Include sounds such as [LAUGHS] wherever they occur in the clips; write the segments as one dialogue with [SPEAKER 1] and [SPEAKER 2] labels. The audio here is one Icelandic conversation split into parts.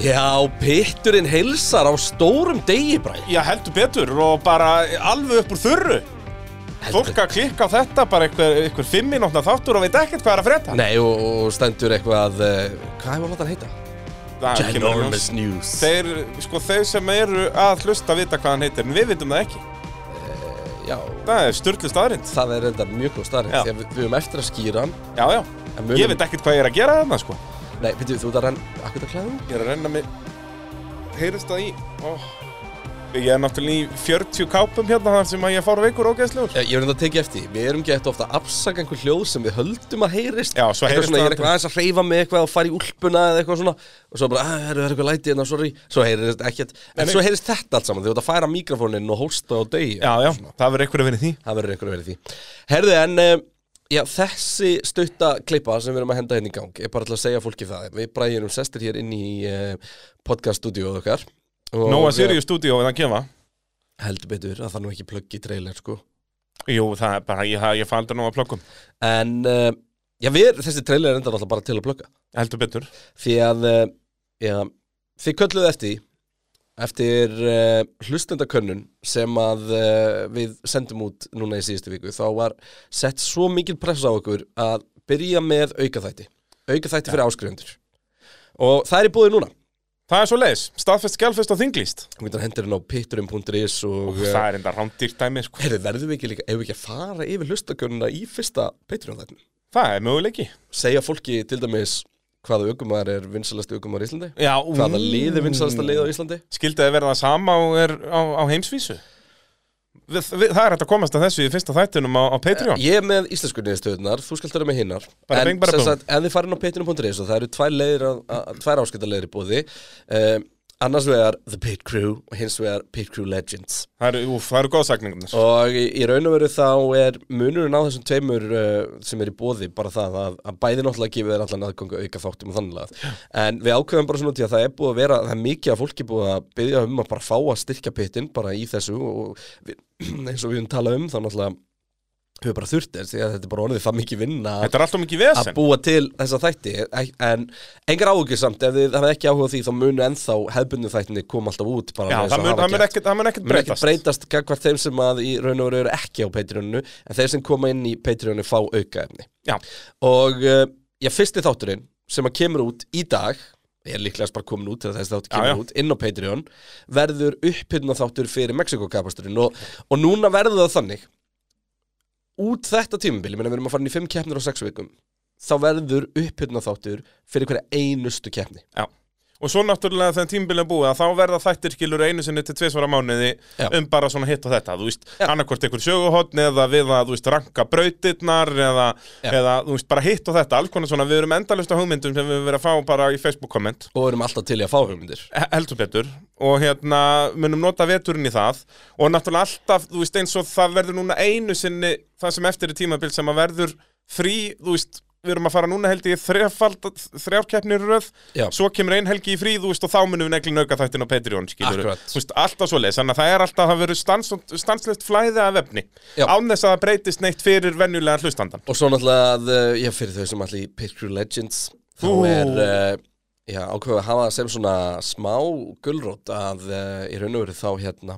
[SPEAKER 1] Já, pitturinn heilsar á stórum degi, Bræn.
[SPEAKER 2] Já, heldur betur og bara alveg upp úr þurru Fólk að klikka á þetta, bara einhver, einhver fimminótna þáttur og veit ekkert hvað er að frétta
[SPEAKER 1] Nei, og, og stendur eitthvað, uh, hvað hefur hann heita?
[SPEAKER 2] Það kemur í ljós.
[SPEAKER 1] Ginormous News.
[SPEAKER 2] Þeir, sko, þeir sem eru að hlusta vita hvað hann heitir, en við vitum það ekki
[SPEAKER 1] Já,
[SPEAKER 2] Það er styrlu staðrind
[SPEAKER 1] það er reyndar mjög góð starrið,
[SPEAKER 2] Já.
[SPEAKER 1] því að við, við höfum eftir að skýra hann.
[SPEAKER 2] Já, já,
[SPEAKER 1] En munum-
[SPEAKER 2] ég veit ekkert hvað ég er að gera þarna, sko
[SPEAKER 1] Nei, veitum við, þú ert að renn, akkur það klæðum?
[SPEAKER 2] Ég er að renna mig, heyrist það í, ó Ég er náttúrulega í 40 kápum hérna þar sem að ég fór veikur ógeðslegur
[SPEAKER 1] Já, Eh, ég er reyndar að tekið eftir, því. við erum gett ofta að afsaka einhver hljóð sem við höldum að heyrist.
[SPEAKER 2] Já, svo
[SPEAKER 1] eitthvað svona,
[SPEAKER 2] heyrist það
[SPEAKER 1] ég er eitthvað aðeins að hreyfa mig eitthvað og fara í úlpuna eða eitthvað svona, og svo bara, að, það er eitthvað lætið hérna, sorry, svo heyrist ekkert, en
[SPEAKER 2] Nei,
[SPEAKER 1] svo heyrist þetta allt saman, því þú ert að færa mikrofónin og hósta á degi.
[SPEAKER 2] Já, já, það verður einhver að vinna í því
[SPEAKER 1] Það verður einhverju verið því. Herðu, en uh, já, þessi stutta klippa sem við erum að henda hérna í gang er bara til að segja fólki það. Við bræðjum sestir hér inn í uh, podcaststudióð okkar. Og,
[SPEAKER 2] Nóa Sirius Studio við að gefa
[SPEAKER 1] eh, Heldur betur að það er nú ekki plugg í trailer, sko.
[SPEAKER 2] Jú, það er bara, ég, ég fæ aldrei nóg að plökkum
[SPEAKER 1] En, uh, já, við, þessi trailer er enda alltaf bara til að plugga.
[SPEAKER 2] Heldur betur
[SPEAKER 1] Því að, uh, já, þið kölluðu eftir því, eftir uh, hlustendakönnun sem að uh, við sendum út núna í síðustu viku þá var sett svo mikil press á okkur að byrja með aukaþætti aukaþætti fyrir áskrifendur og það er í búið núna
[SPEAKER 2] Það er svo leiðis, staðfest, skjálfest og þinglýst
[SPEAKER 1] þú getur hendurinn á pitturum.is og eh,
[SPEAKER 2] Það er enda rándýrt dæmi, sko
[SPEAKER 1] Heyrðu, verðum við ekki líka, ef við ekki að fara yfir hlustakönnuna í fyrsta Patreon þættin
[SPEAKER 2] Það er möguleiki
[SPEAKER 1] segja fólki til dæmis hvaða aukumar er vinsalasta aukumar í Íslandi
[SPEAKER 2] Já,
[SPEAKER 1] hvaða lið er vinsalasta lið á Íslandi
[SPEAKER 2] Skildi að verða það sama og er á, á heimsvísu við, við, Það er hægt að komast að þessu í fyrsta þættinum á, á Patreon
[SPEAKER 1] Ég er með íslensku niðurstöðunar, þú skalt vera með hinnar
[SPEAKER 2] Bara
[SPEAKER 1] En
[SPEAKER 2] bing, bara
[SPEAKER 1] sem
[SPEAKER 2] búm.
[SPEAKER 1] sagt, ef þið farin á patreon.is og það eru tvær, leiðir að- að- tvær áskiptarleir í bóði um, Annars vegar The Pit Crew og hins vegar Pit Crew Legends
[SPEAKER 2] Það eru, úf, það eru góðsakningarnir
[SPEAKER 1] Og í í raun og veru þá er munurinn á þessum tveimur uh, sem er í bóði bara það að, að bæði náttúrulega gefið þér allan aðgöngu auka þáttum og þannig að En við ákveðum bara svona út í að það er búið að vera, það er mikið að fólki búið að byggja um að bara fá að styrkja pittin bara í þessu og við, [CLEARS THROAT] eins og við höfum talað um þá náttúrulega höfum við bara þurft þess því að þetta er bara orðið það mikið vinna að-
[SPEAKER 2] Þetta er alltaf mikið
[SPEAKER 1] að
[SPEAKER 2] vesen
[SPEAKER 1] búa til þessa þætti en engar áhugur samt, ef þið hafið ekki áhuga á því þá munu ennþá hefbundu þættinni koma alltaf út bara
[SPEAKER 2] Já,
[SPEAKER 1] eins og
[SPEAKER 2] það mun,
[SPEAKER 1] hafa
[SPEAKER 2] það mun
[SPEAKER 1] gert
[SPEAKER 2] ekkert, það mun ekkert
[SPEAKER 1] mun ekki
[SPEAKER 2] breytast
[SPEAKER 1] breytast gagvart þeim sem að í raun og veru eru ekki á Patreonu en þeir sem koma inn í Patreonu fá aukaefni
[SPEAKER 2] Já,
[SPEAKER 1] og uh, já, fyrsti þátturinn sem að kemur út í dag er líklegast bara komin út þegar þessi þáttur
[SPEAKER 2] Já,
[SPEAKER 1] kemur
[SPEAKER 2] já.
[SPEAKER 1] út inn á Patreon verður upphyrna þáttur fyrir Mexiko-kapasturinn og, og núna verður það þannig út þetta tímabili, menn að við erum að fara inn í 5 keppnir á 6 vikum þá verður upphyrna þáttur fyrir hverja einustu keppni
[SPEAKER 2] já Og svo náttúrulega þegar tímbilin búið að þá verða þættir skilur einu sinni til tvisvara mánuði
[SPEAKER 1] Já.
[SPEAKER 2] um bara svona hitt og þetta, þú veist,
[SPEAKER 1] Já.
[SPEAKER 2] annarkvort einhver söguhotn eða við að, þú veist, ranka brautirnar eða,
[SPEAKER 1] Já.
[SPEAKER 2] eða, þú veist, bara hitt og þetta, alls konar svona, við erum endalust á hugmyndum sem við erum verið að fá bara í Facebook komment
[SPEAKER 1] og erum alltaf til í að fá hugmyndir
[SPEAKER 2] He- heldur betur og hérna munum nota veturinn í það og náttúrulega alltaf, þú veist eins og það verður núna einu sinni það sem eftir er tímabil sem að verður frí, þú veist við erum að fara núna held ég í þrefald þrjárkeppnir röð,
[SPEAKER 1] Já.
[SPEAKER 2] svo kemur ein helgi í frí þú veist og þá munum við neglin auka þættin á Patreon skilur,
[SPEAKER 1] Akkurat.
[SPEAKER 2] þú veist alltaf svo leið þannig að það er alltaf að verður stans, stanslegt flæði af efni,
[SPEAKER 1] Já.
[SPEAKER 2] án þess að það breytist neitt fyrir venjulega hlustandan
[SPEAKER 1] Og svo náttúrulega að, uh, já, fyrir þau sem allir í Pit Crew Legends, þá
[SPEAKER 2] Ú.
[SPEAKER 1] er, uh, já, ákveðu að hafa það sem svona smá gulrót að uh, í raun og veru þá hérna,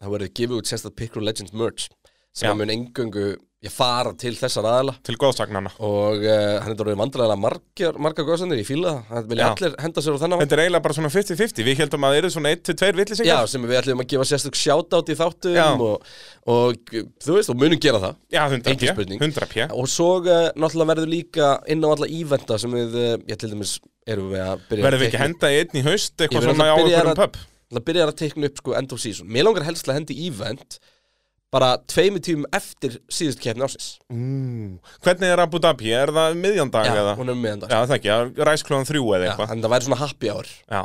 [SPEAKER 1] þá verður gefið út sérstætt Pit Crew Legends merch sem
[SPEAKER 2] Já.
[SPEAKER 1] að mun engöngu, já, fara til þessar aðala
[SPEAKER 2] til góðsagnana
[SPEAKER 1] og uh, hann er orðið vandræðilega margar, margar góðsennir, ég fíla það, hann vilja
[SPEAKER 2] Já.
[SPEAKER 1] allir henda sér á þennan
[SPEAKER 2] Þetta er eiginlega bara svona 50-50, við heldum að það eru svona 1-2
[SPEAKER 1] Já,
[SPEAKER 2] villisingar
[SPEAKER 1] sem við ætlum að gefa sérstök sjátátt í þáttum
[SPEAKER 2] Já.
[SPEAKER 1] og, og uh, þú veist, og munum gera það
[SPEAKER 2] Já, 100
[SPEAKER 1] Engin spurning.
[SPEAKER 2] 100 pjö
[SPEAKER 1] Og svo uh, náttúrulega verður líka inn á alla ívenda sem við, uh, ég til dæmis, erum við að byrja
[SPEAKER 2] Verðum við ekki að
[SPEAKER 1] teikna-
[SPEAKER 2] henda í einn í haust
[SPEAKER 1] Ég
[SPEAKER 2] eitthvað
[SPEAKER 1] verð
[SPEAKER 2] svona á
[SPEAKER 1] alltaf að byrja að-
[SPEAKER 2] einhverjum pub?
[SPEAKER 1] Það byrjar að teikna upp sko end of season. Mér langar helst til að hendi ívend bara tveimur tímum eftir síðust keppni ásins.
[SPEAKER 2] Mm. Hvernig er Abu Dhabi? Er það um miðjan dag eða?
[SPEAKER 1] hún er um meðan
[SPEAKER 2] Já, það ekki, það er ræsklóðan þrjú eða
[SPEAKER 1] Já,
[SPEAKER 2] eitthvað
[SPEAKER 1] en það væri svona happy hour.
[SPEAKER 2] Já,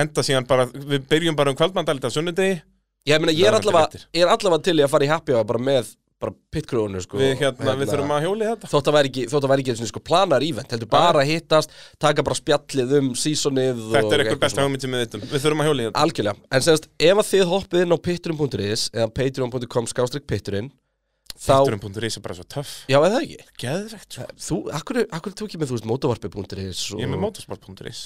[SPEAKER 2] henda síðan bara, við byrjum bara um kvöldmandalita sunnudegi
[SPEAKER 1] Ég meina, ég er
[SPEAKER 2] Það verður
[SPEAKER 1] allavega,
[SPEAKER 2] betur.
[SPEAKER 1] ég er allavega til í að fara í happy hour bara með bara pitkrúinu sko.
[SPEAKER 2] Við hérna, við þurfum að hjóli þetta
[SPEAKER 1] Þótt að væri ekki, þótt að væri ekki einu sinni, sko planar ívend, heldur bara að hittast, taka bara spjallið um seasonið og
[SPEAKER 2] Þetta er eitthvað
[SPEAKER 1] eitthvað svona.
[SPEAKER 2] besta hugmynd sem við vittum Við þurfum að hjóli þetta
[SPEAKER 1] Algjörlega, en semst, ef að þið hoppið inn á patreon.is eða patreon.com skástrík patreon þá,
[SPEAKER 2] Þátturum.is er bara svo töff sko.
[SPEAKER 1] já, eða ekki
[SPEAKER 2] Geðvegt svo
[SPEAKER 1] þú, akkur, akkur tók ég með, þú veist, mótavarpi.is og...
[SPEAKER 2] Ég er með motorsport.is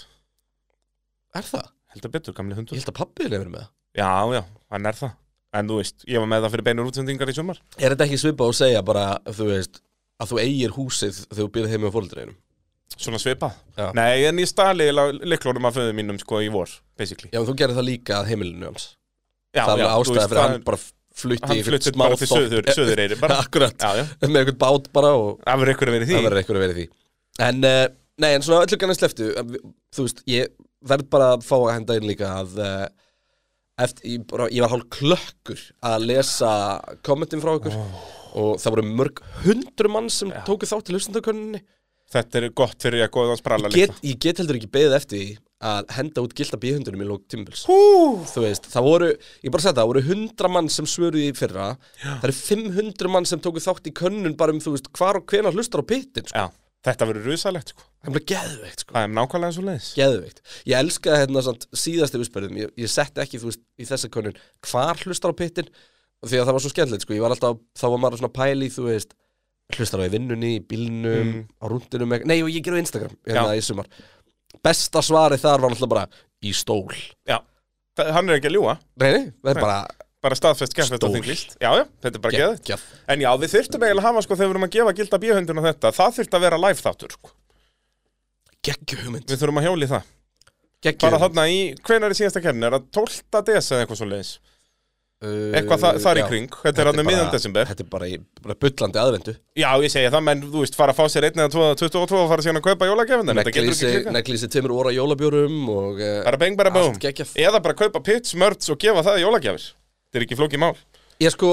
[SPEAKER 1] er það?
[SPEAKER 2] heldur betur, gamli hundur
[SPEAKER 1] Ég held að pappiðin hefur með það.
[SPEAKER 2] Já, já, hann er það En þú veist, ég var með það fyrir beinur útsendingar í sumar
[SPEAKER 1] Er þetta ekki svipa og segja bara, þú veist, að þú eigir húsið þegar þú býrð heim með fóldreinu?
[SPEAKER 2] Svona svipað
[SPEAKER 1] Já.
[SPEAKER 2] Nei, en ég stali leiklórum af föðu mínum sko í vor, basically
[SPEAKER 1] Já, en þú gerir það líka að heimilinu hans.
[SPEAKER 2] Já,
[SPEAKER 1] það er alveg ástæða
[SPEAKER 2] þú
[SPEAKER 1] fyrir
[SPEAKER 2] veist,
[SPEAKER 1] að
[SPEAKER 2] það-
[SPEAKER 1] hann bara flutti í
[SPEAKER 2] Hann
[SPEAKER 1] einhvern
[SPEAKER 2] fluttur
[SPEAKER 1] smá
[SPEAKER 2] bara til söður,
[SPEAKER 1] þorp.
[SPEAKER 2] söður eiri [LAUGHS] bara.
[SPEAKER 1] [LAUGHS] Akkurat,
[SPEAKER 2] Já, já,
[SPEAKER 1] með einhvern bát bara og
[SPEAKER 2] það verður ykkur að vera í
[SPEAKER 1] það
[SPEAKER 2] því
[SPEAKER 1] verður einhver að vera í því. En, uh, nei, en svona öllu kannar sleftu, þú veist, ég verð bara að fá að henda inn líka að uh, eftir, ég, bara, ég var hálf klökkur að lesa kommentin frá ykkur og það voru mörg hundru mann sem
[SPEAKER 2] Já.
[SPEAKER 1] tóku þátt í hlustendakönninni.
[SPEAKER 2] Þetta er gott fyrir að góðan spralla
[SPEAKER 1] Get, ég get heldur ekki beðið eftir því að henda út gilda bíhundunum í lók tímbils.
[SPEAKER 2] Hú,
[SPEAKER 1] þú veist, það voru, ég bara sagði það, það voru 100 mann sem svöruði í fyrra það eru 500 mann sem tóku þátt í könnun bara um, þú veist, hvar og hvenar hlustar á pittin sko.
[SPEAKER 2] Já, þetta verður rusalegt sko
[SPEAKER 1] það er bara geðveikt, sko
[SPEAKER 2] Það er nákvæmlega svo leiðis
[SPEAKER 1] geðveikt, ég elskaði hérna samt síðasti uppspyrðum, ég, ég setti ekki, þú veist, í þessa könnun hvar hlustar á pittin því að það var svo skemmtilegt, sko, ég var alltaf þá var maður svona pæli, þú veist hlustar á í vinnunni, í bílnum,
[SPEAKER 2] Mm.
[SPEAKER 1] á rúndinum eitthvað- nei, og ég gerði Instagram, hérna
[SPEAKER 2] Já.
[SPEAKER 1] í sumar besta svarið þar var alltaf bara í stól,
[SPEAKER 2] Já, það, hann er ekki að ljúga
[SPEAKER 1] nei, nei, það er
[SPEAKER 2] Nei.
[SPEAKER 1] bara
[SPEAKER 2] Bara staðfest kemst þetta
[SPEAKER 1] Stól.
[SPEAKER 2] þinglist Já, já, þetta er bara geðið
[SPEAKER 1] geggjað.
[SPEAKER 2] En já, við þyrftum eiginlega að hafa sko þegar við erum að gefa gilda bíhundina þetta Það þyrft að vera live þáttur sko
[SPEAKER 1] Geggjuð hugmynd.
[SPEAKER 2] Við þurfum að hjóli það
[SPEAKER 1] Geggjuð
[SPEAKER 2] Bara
[SPEAKER 1] hugmynd.
[SPEAKER 2] þarna í, hvenær er síðasta kernin? Er það 12. des eða eitthvað svo leiðis?
[SPEAKER 1] Uh,
[SPEAKER 2] Eitthvað þa þar í
[SPEAKER 1] já.
[SPEAKER 2] kring, þetta er hann um
[SPEAKER 1] bara-
[SPEAKER 2] miðan desember
[SPEAKER 1] Þetta er bara, í, bara bullandi aðvendu
[SPEAKER 2] Já, ég segi það, menn þú veist, fara að fá sér einn eða tvo eða 22 og fara síðan að kaupa jólagefinu Þetta getur ekki klikkað.
[SPEAKER 1] Neglísi tveimur óra jólabjörum og uh,
[SPEAKER 2] Bara beng, bara búm
[SPEAKER 1] allt geggjað
[SPEAKER 2] Eða bara kaupa pits, mörds og gefa það í jólagefir Þetta er ekki flókið mál
[SPEAKER 1] Ég sko,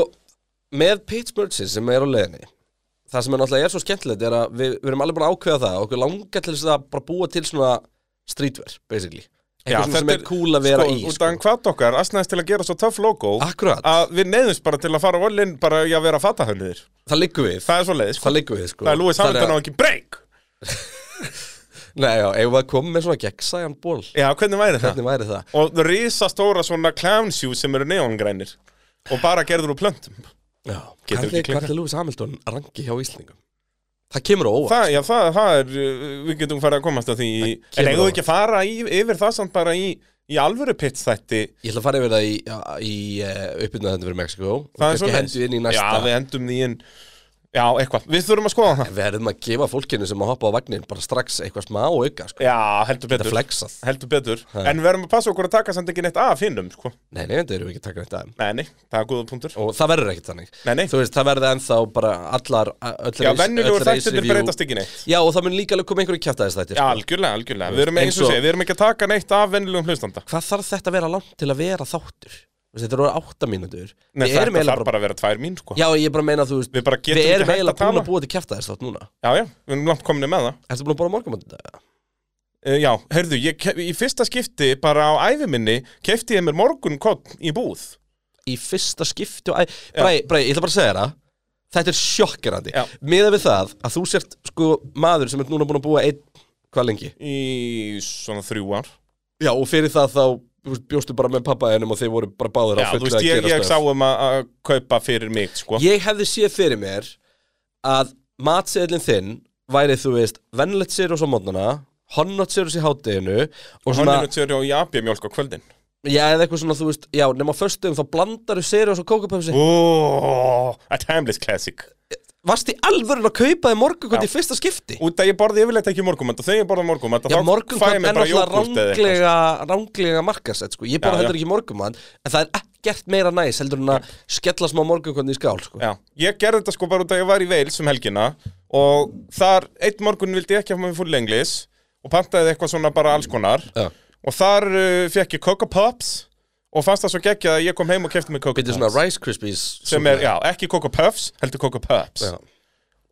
[SPEAKER 1] með Pittsburghsi sem er á leiðinni Það sem er náttúrulega er svo skemmtilegt er að við, við erum alveg búin að ákveða það og okkur langar til þess að bara búa til svona streetwear, basically
[SPEAKER 2] Já,
[SPEAKER 1] Eitthvað svona sem
[SPEAKER 2] þetta
[SPEAKER 1] er cool að vera
[SPEAKER 2] sko,
[SPEAKER 1] í
[SPEAKER 2] Út af hann hvað okkar, asnaðist til að gera svo töff logo
[SPEAKER 1] Akkurat,
[SPEAKER 2] Að við neyðumst bara til að fara á allin bara í að vera fatahönniðir
[SPEAKER 1] það liggur við
[SPEAKER 2] Það er svo leiðis
[SPEAKER 1] Það liggur við sko
[SPEAKER 2] Það er Lúi
[SPEAKER 1] Þannig
[SPEAKER 2] Hamilton á
[SPEAKER 1] að-
[SPEAKER 2] ekki break
[SPEAKER 1] Nei, já, ef við komum með svona gegnsæjan ból
[SPEAKER 2] Já, hvernig væri það?
[SPEAKER 1] Hvernig væri það?
[SPEAKER 2] Og risastóra svona clown shoes sem eru neongrænir Og bara gerður úr plöntum
[SPEAKER 1] Já,
[SPEAKER 2] Getur
[SPEAKER 1] Getur
[SPEAKER 2] ekki
[SPEAKER 1] ekki
[SPEAKER 2] klikkað.
[SPEAKER 1] Hvernig Lewis Hamilton rangi hjá Íslingum? Það kemur á óvart
[SPEAKER 2] það, já, það, það er, uh, við getum farið að komast að því í-
[SPEAKER 1] kemur
[SPEAKER 2] En eigum
[SPEAKER 1] á
[SPEAKER 2] við ekki að fara í, yfir það samt bara í, í alvöru pits þætti
[SPEAKER 1] Ég ætla að fara yfir það í, já, í uh, uppbyrna þetta fyrir Mexiko og
[SPEAKER 2] Það
[SPEAKER 1] kannski
[SPEAKER 2] er svoleiðis.
[SPEAKER 1] hendu inn í næsta
[SPEAKER 2] Já, við endum því inn Já, eitthvað, við þurfum að skoða það
[SPEAKER 1] Við erum að gefa fólkinu sem að hoppa á vagnin bara strax eitthvað smá auka sko.
[SPEAKER 2] Já, heldur
[SPEAKER 1] Þetta er
[SPEAKER 2] betur
[SPEAKER 1] flexað
[SPEAKER 2] Heldur betur
[SPEAKER 1] Ha.
[SPEAKER 2] En við verðum að passa okkur að taka samt ekki neitt af hinnum sko.
[SPEAKER 1] Nei, nei, þetta erum við ekki að taka neitt aðeim
[SPEAKER 2] Nei, nei, það er góða punktur
[SPEAKER 1] Og það verður ekkert þannig
[SPEAKER 2] Nei, nei,
[SPEAKER 1] Þú veist, það verður ennþá bara allar öll
[SPEAKER 2] já,
[SPEAKER 1] reis- öll
[SPEAKER 2] venjulegur
[SPEAKER 1] reis
[SPEAKER 2] þættir
[SPEAKER 1] review.
[SPEAKER 2] breytast ekki neitt
[SPEAKER 1] Já, og það mun líka alveg koma einhverju kjæftæðis
[SPEAKER 2] Já,
[SPEAKER 1] þættir sko.
[SPEAKER 2] algjörlega, algjörlega Við erum,
[SPEAKER 1] Eins
[SPEAKER 2] eins og
[SPEAKER 1] og-
[SPEAKER 2] segja, við erum ekki að taka neitt af venjulegum hlustanda
[SPEAKER 1] Hvað þarf þetta að vera langt til að vera þáttur? Þú veist, Þetta eru átta mínútur
[SPEAKER 2] Nei,
[SPEAKER 1] Við
[SPEAKER 2] þetta
[SPEAKER 1] erum eiginlega
[SPEAKER 2] þarf bara að vera tvær mín sko.
[SPEAKER 1] Já, ég bara meina, þú veist,
[SPEAKER 2] Við bara getum
[SPEAKER 1] Við
[SPEAKER 2] ekki
[SPEAKER 1] erum
[SPEAKER 2] hægt
[SPEAKER 1] eiginlega
[SPEAKER 2] að
[SPEAKER 1] búin
[SPEAKER 2] tala
[SPEAKER 1] að búa til kjæftæðis þátt núna
[SPEAKER 2] Já, já, við erum langt komin með það
[SPEAKER 1] Ertu búin að borða morgumöndu dag?
[SPEAKER 2] Uh, Já, heyrðu, ég, ke- í fyrsta skipti bara á ævi minni kefti ég mér morgunkotn í búð
[SPEAKER 1] Í fyrsta skipti og æ... Bræ, bræ, ég ætla bara að segja þér það Þetta er sjokkerandi
[SPEAKER 2] Já.
[SPEAKER 1] Miðað við það að þú sért sko maður sem er núna búin að búa einn hvað lengi
[SPEAKER 2] í svona þrjú ár
[SPEAKER 1] Já og fyrir það þá þú veist, bjóstu bara með pappa hennum og þeir voru bara báður
[SPEAKER 2] Já,
[SPEAKER 1] á
[SPEAKER 2] þú
[SPEAKER 1] fullu
[SPEAKER 2] veist,
[SPEAKER 1] að
[SPEAKER 2] ég,
[SPEAKER 1] gera
[SPEAKER 2] ég sá
[SPEAKER 1] stöð
[SPEAKER 2] um að að kaupa fyrir mig, sko
[SPEAKER 1] Ég hefði séð fyrir mér að matseðlinn þinn væri þú veist vennlegt sér og svo mótnana honnot sér og sér hátteginu og
[SPEAKER 2] Hann
[SPEAKER 1] svona,
[SPEAKER 2] er tjóri á Jabi mjólk á kvöldin
[SPEAKER 1] já eða eitthvað svona þú veist já, nema á föstum þá blandar þú sér og svo kókupöfsi
[SPEAKER 2] Ó, a timeless classic
[SPEAKER 1] Varst í alvörun að kaupa þið morgun
[SPEAKER 2] Já.
[SPEAKER 1] í fyrsta skipti?
[SPEAKER 2] Út að ég borði yfirleitt ekki morgumat og þegar ég borði morgumat
[SPEAKER 1] Já, morgun
[SPEAKER 2] fæ ég
[SPEAKER 1] er
[SPEAKER 2] mér bara
[SPEAKER 1] náttúrulega
[SPEAKER 2] jógúrt eða eitthvað
[SPEAKER 1] ránglega, ránglega markasett sko. Ég
[SPEAKER 2] Já,
[SPEAKER 1] borða
[SPEAKER 2] já.
[SPEAKER 1] heldur ekki morgumann En það er ekkert meira næs heldur en að skella smá morgun í skál sko.
[SPEAKER 2] Já, ég gerði þetta sko bara út að ég var í Wales um helgina og þar, einn morgun vildi ég ekki hafa með full englis og pantaði eitthvað svona bara alls konar
[SPEAKER 1] Já.
[SPEAKER 2] og þar uh, fekk ég Coco Pops og fannst það svo geggjað að ég kom heim og kefti mig Coco
[SPEAKER 1] Býttu svona
[SPEAKER 2] Pops
[SPEAKER 1] Rice Krispies sko.
[SPEAKER 2] sem er, já, ekki Coco Puffs, heldur Coco Pops
[SPEAKER 1] Já.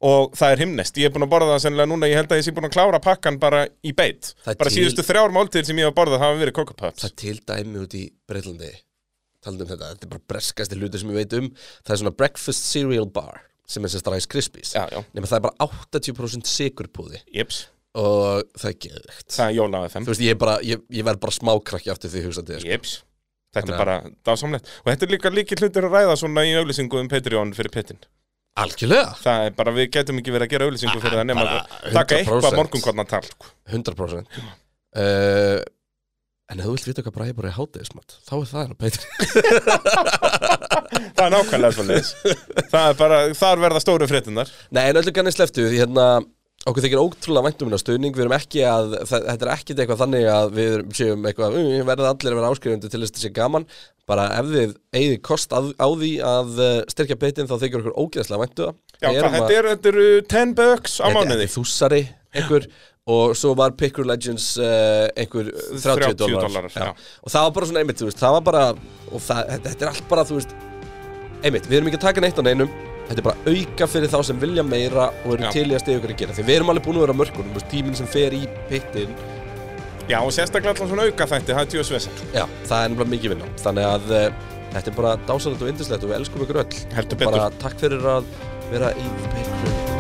[SPEAKER 2] og það er himnest, ég er búin að borða það sennilega núna, ég held að ég sé búin að klára pakkan bara í beitt,
[SPEAKER 1] Það er
[SPEAKER 2] bara
[SPEAKER 1] til-
[SPEAKER 2] síðustu þrjár máltíðir sem ég hef borðað hafa verið Coco Puffs
[SPEAKER 1] Það er til dæmi út í Breitlandi Talandi um þetta, þetta er bara breskasti hluti sem ég veit um Það er svona breakfast cereal bar Sem er sérst Rice Krispies
[SPEAKER 2] Já, já,
[SPEAKER 1] Nefnir það er bara 80% sigurpúði
[SPEAKER 2] jips,
[SPEAKER 1] Og það er geðvegt
[SPEAKER 2] það er Jóla FM
[SPEAKER 1] Þú veist, ég, er bara, ég, ég verð bara smákrakki aftur því hugsaði sko.
[SPEAKER 2] Jips Þetta
[SPEAKER 1] Þannig
[SPEAKER 2] er
[SPEAKER 1] að-
[SPEAKER 2] bara dásamlegt Og þetta er líka líki hlutir að ræða svona í auðlýsingu um Patreon fyrir Petin
[SPEAKER 1] Algjörlega
[SPEAKER 2] Það er bara, við getum ekki verið að gera auðlýsingu fyrir það nema
[SPEAKER 1] Bara
[SPEAKER 2] að sko.
[SPEAKER 1] 100%.
[SPEAKER 2] taka eitthvað morgunkotna tal
[SPEAKER 1] 100% uh, En ef þú vilt vita hvað bræði bara er hátegismat Þá er það hennar Petri
[SPEAKER 2] Það er nákvæmlega svolítið Það er bara, þar verða stóru fréttinnar
[SPEAKER 1] [LAUGHS] Nei, en öllu kannir sleftu því hérna Okkur þykir ótrúlega vænt um hérna stuðning Við erum ekki að, það, þetta er ekkit eitthvað þannig að Við erum- séum eitthvað, um, verðið allir að vera áskrifundu Til þess að þetta sé gaman Bara ef þið eigið kost að, á því að eh, styrkja beitin Þá þykir okkur ógeðslega um væntu
[SPEAKER 2] Já, hvað, þetta, er, þetta eru 10 bucks á mánuði
[SPEAKER 1] Þúsari, einhver Og svo var Picker Legends uh, einhver 30,
[SPEAKER 2] 30
[SPEAKER 1] dólarar,
[SPEAKER 2] dollarar, já.
[SPEAKER 1] Og það var bara svona einmitt, þú veist Það var bara, og það, þetta- þetta er allt bara, þú veist Einmitt, við erum ekki að taka neitt á neinum Þetta er bara auka fyrir þá sem vilja meira og eru
[SPEAKER 2] Já.
[SPEAKER 1] til í að stiga ykkur að gera Því við erum alveg búin að vera á mörkunum, þú veist, tíminn sem fer í pittin
[SPEAKER 2] Já, og sérstaklega allan svona auka þætti, það er tjóðs vesen
[SPEAKER 1] Já, það er nefnilega mikið vinna Þannig að uh, þetta er bara dásalegt og indislegt og við elskum ykkur öll
[SPEAKER 2] Heldur betur
[SPEAKER 1] Bara takk fyrir að vera í Patreon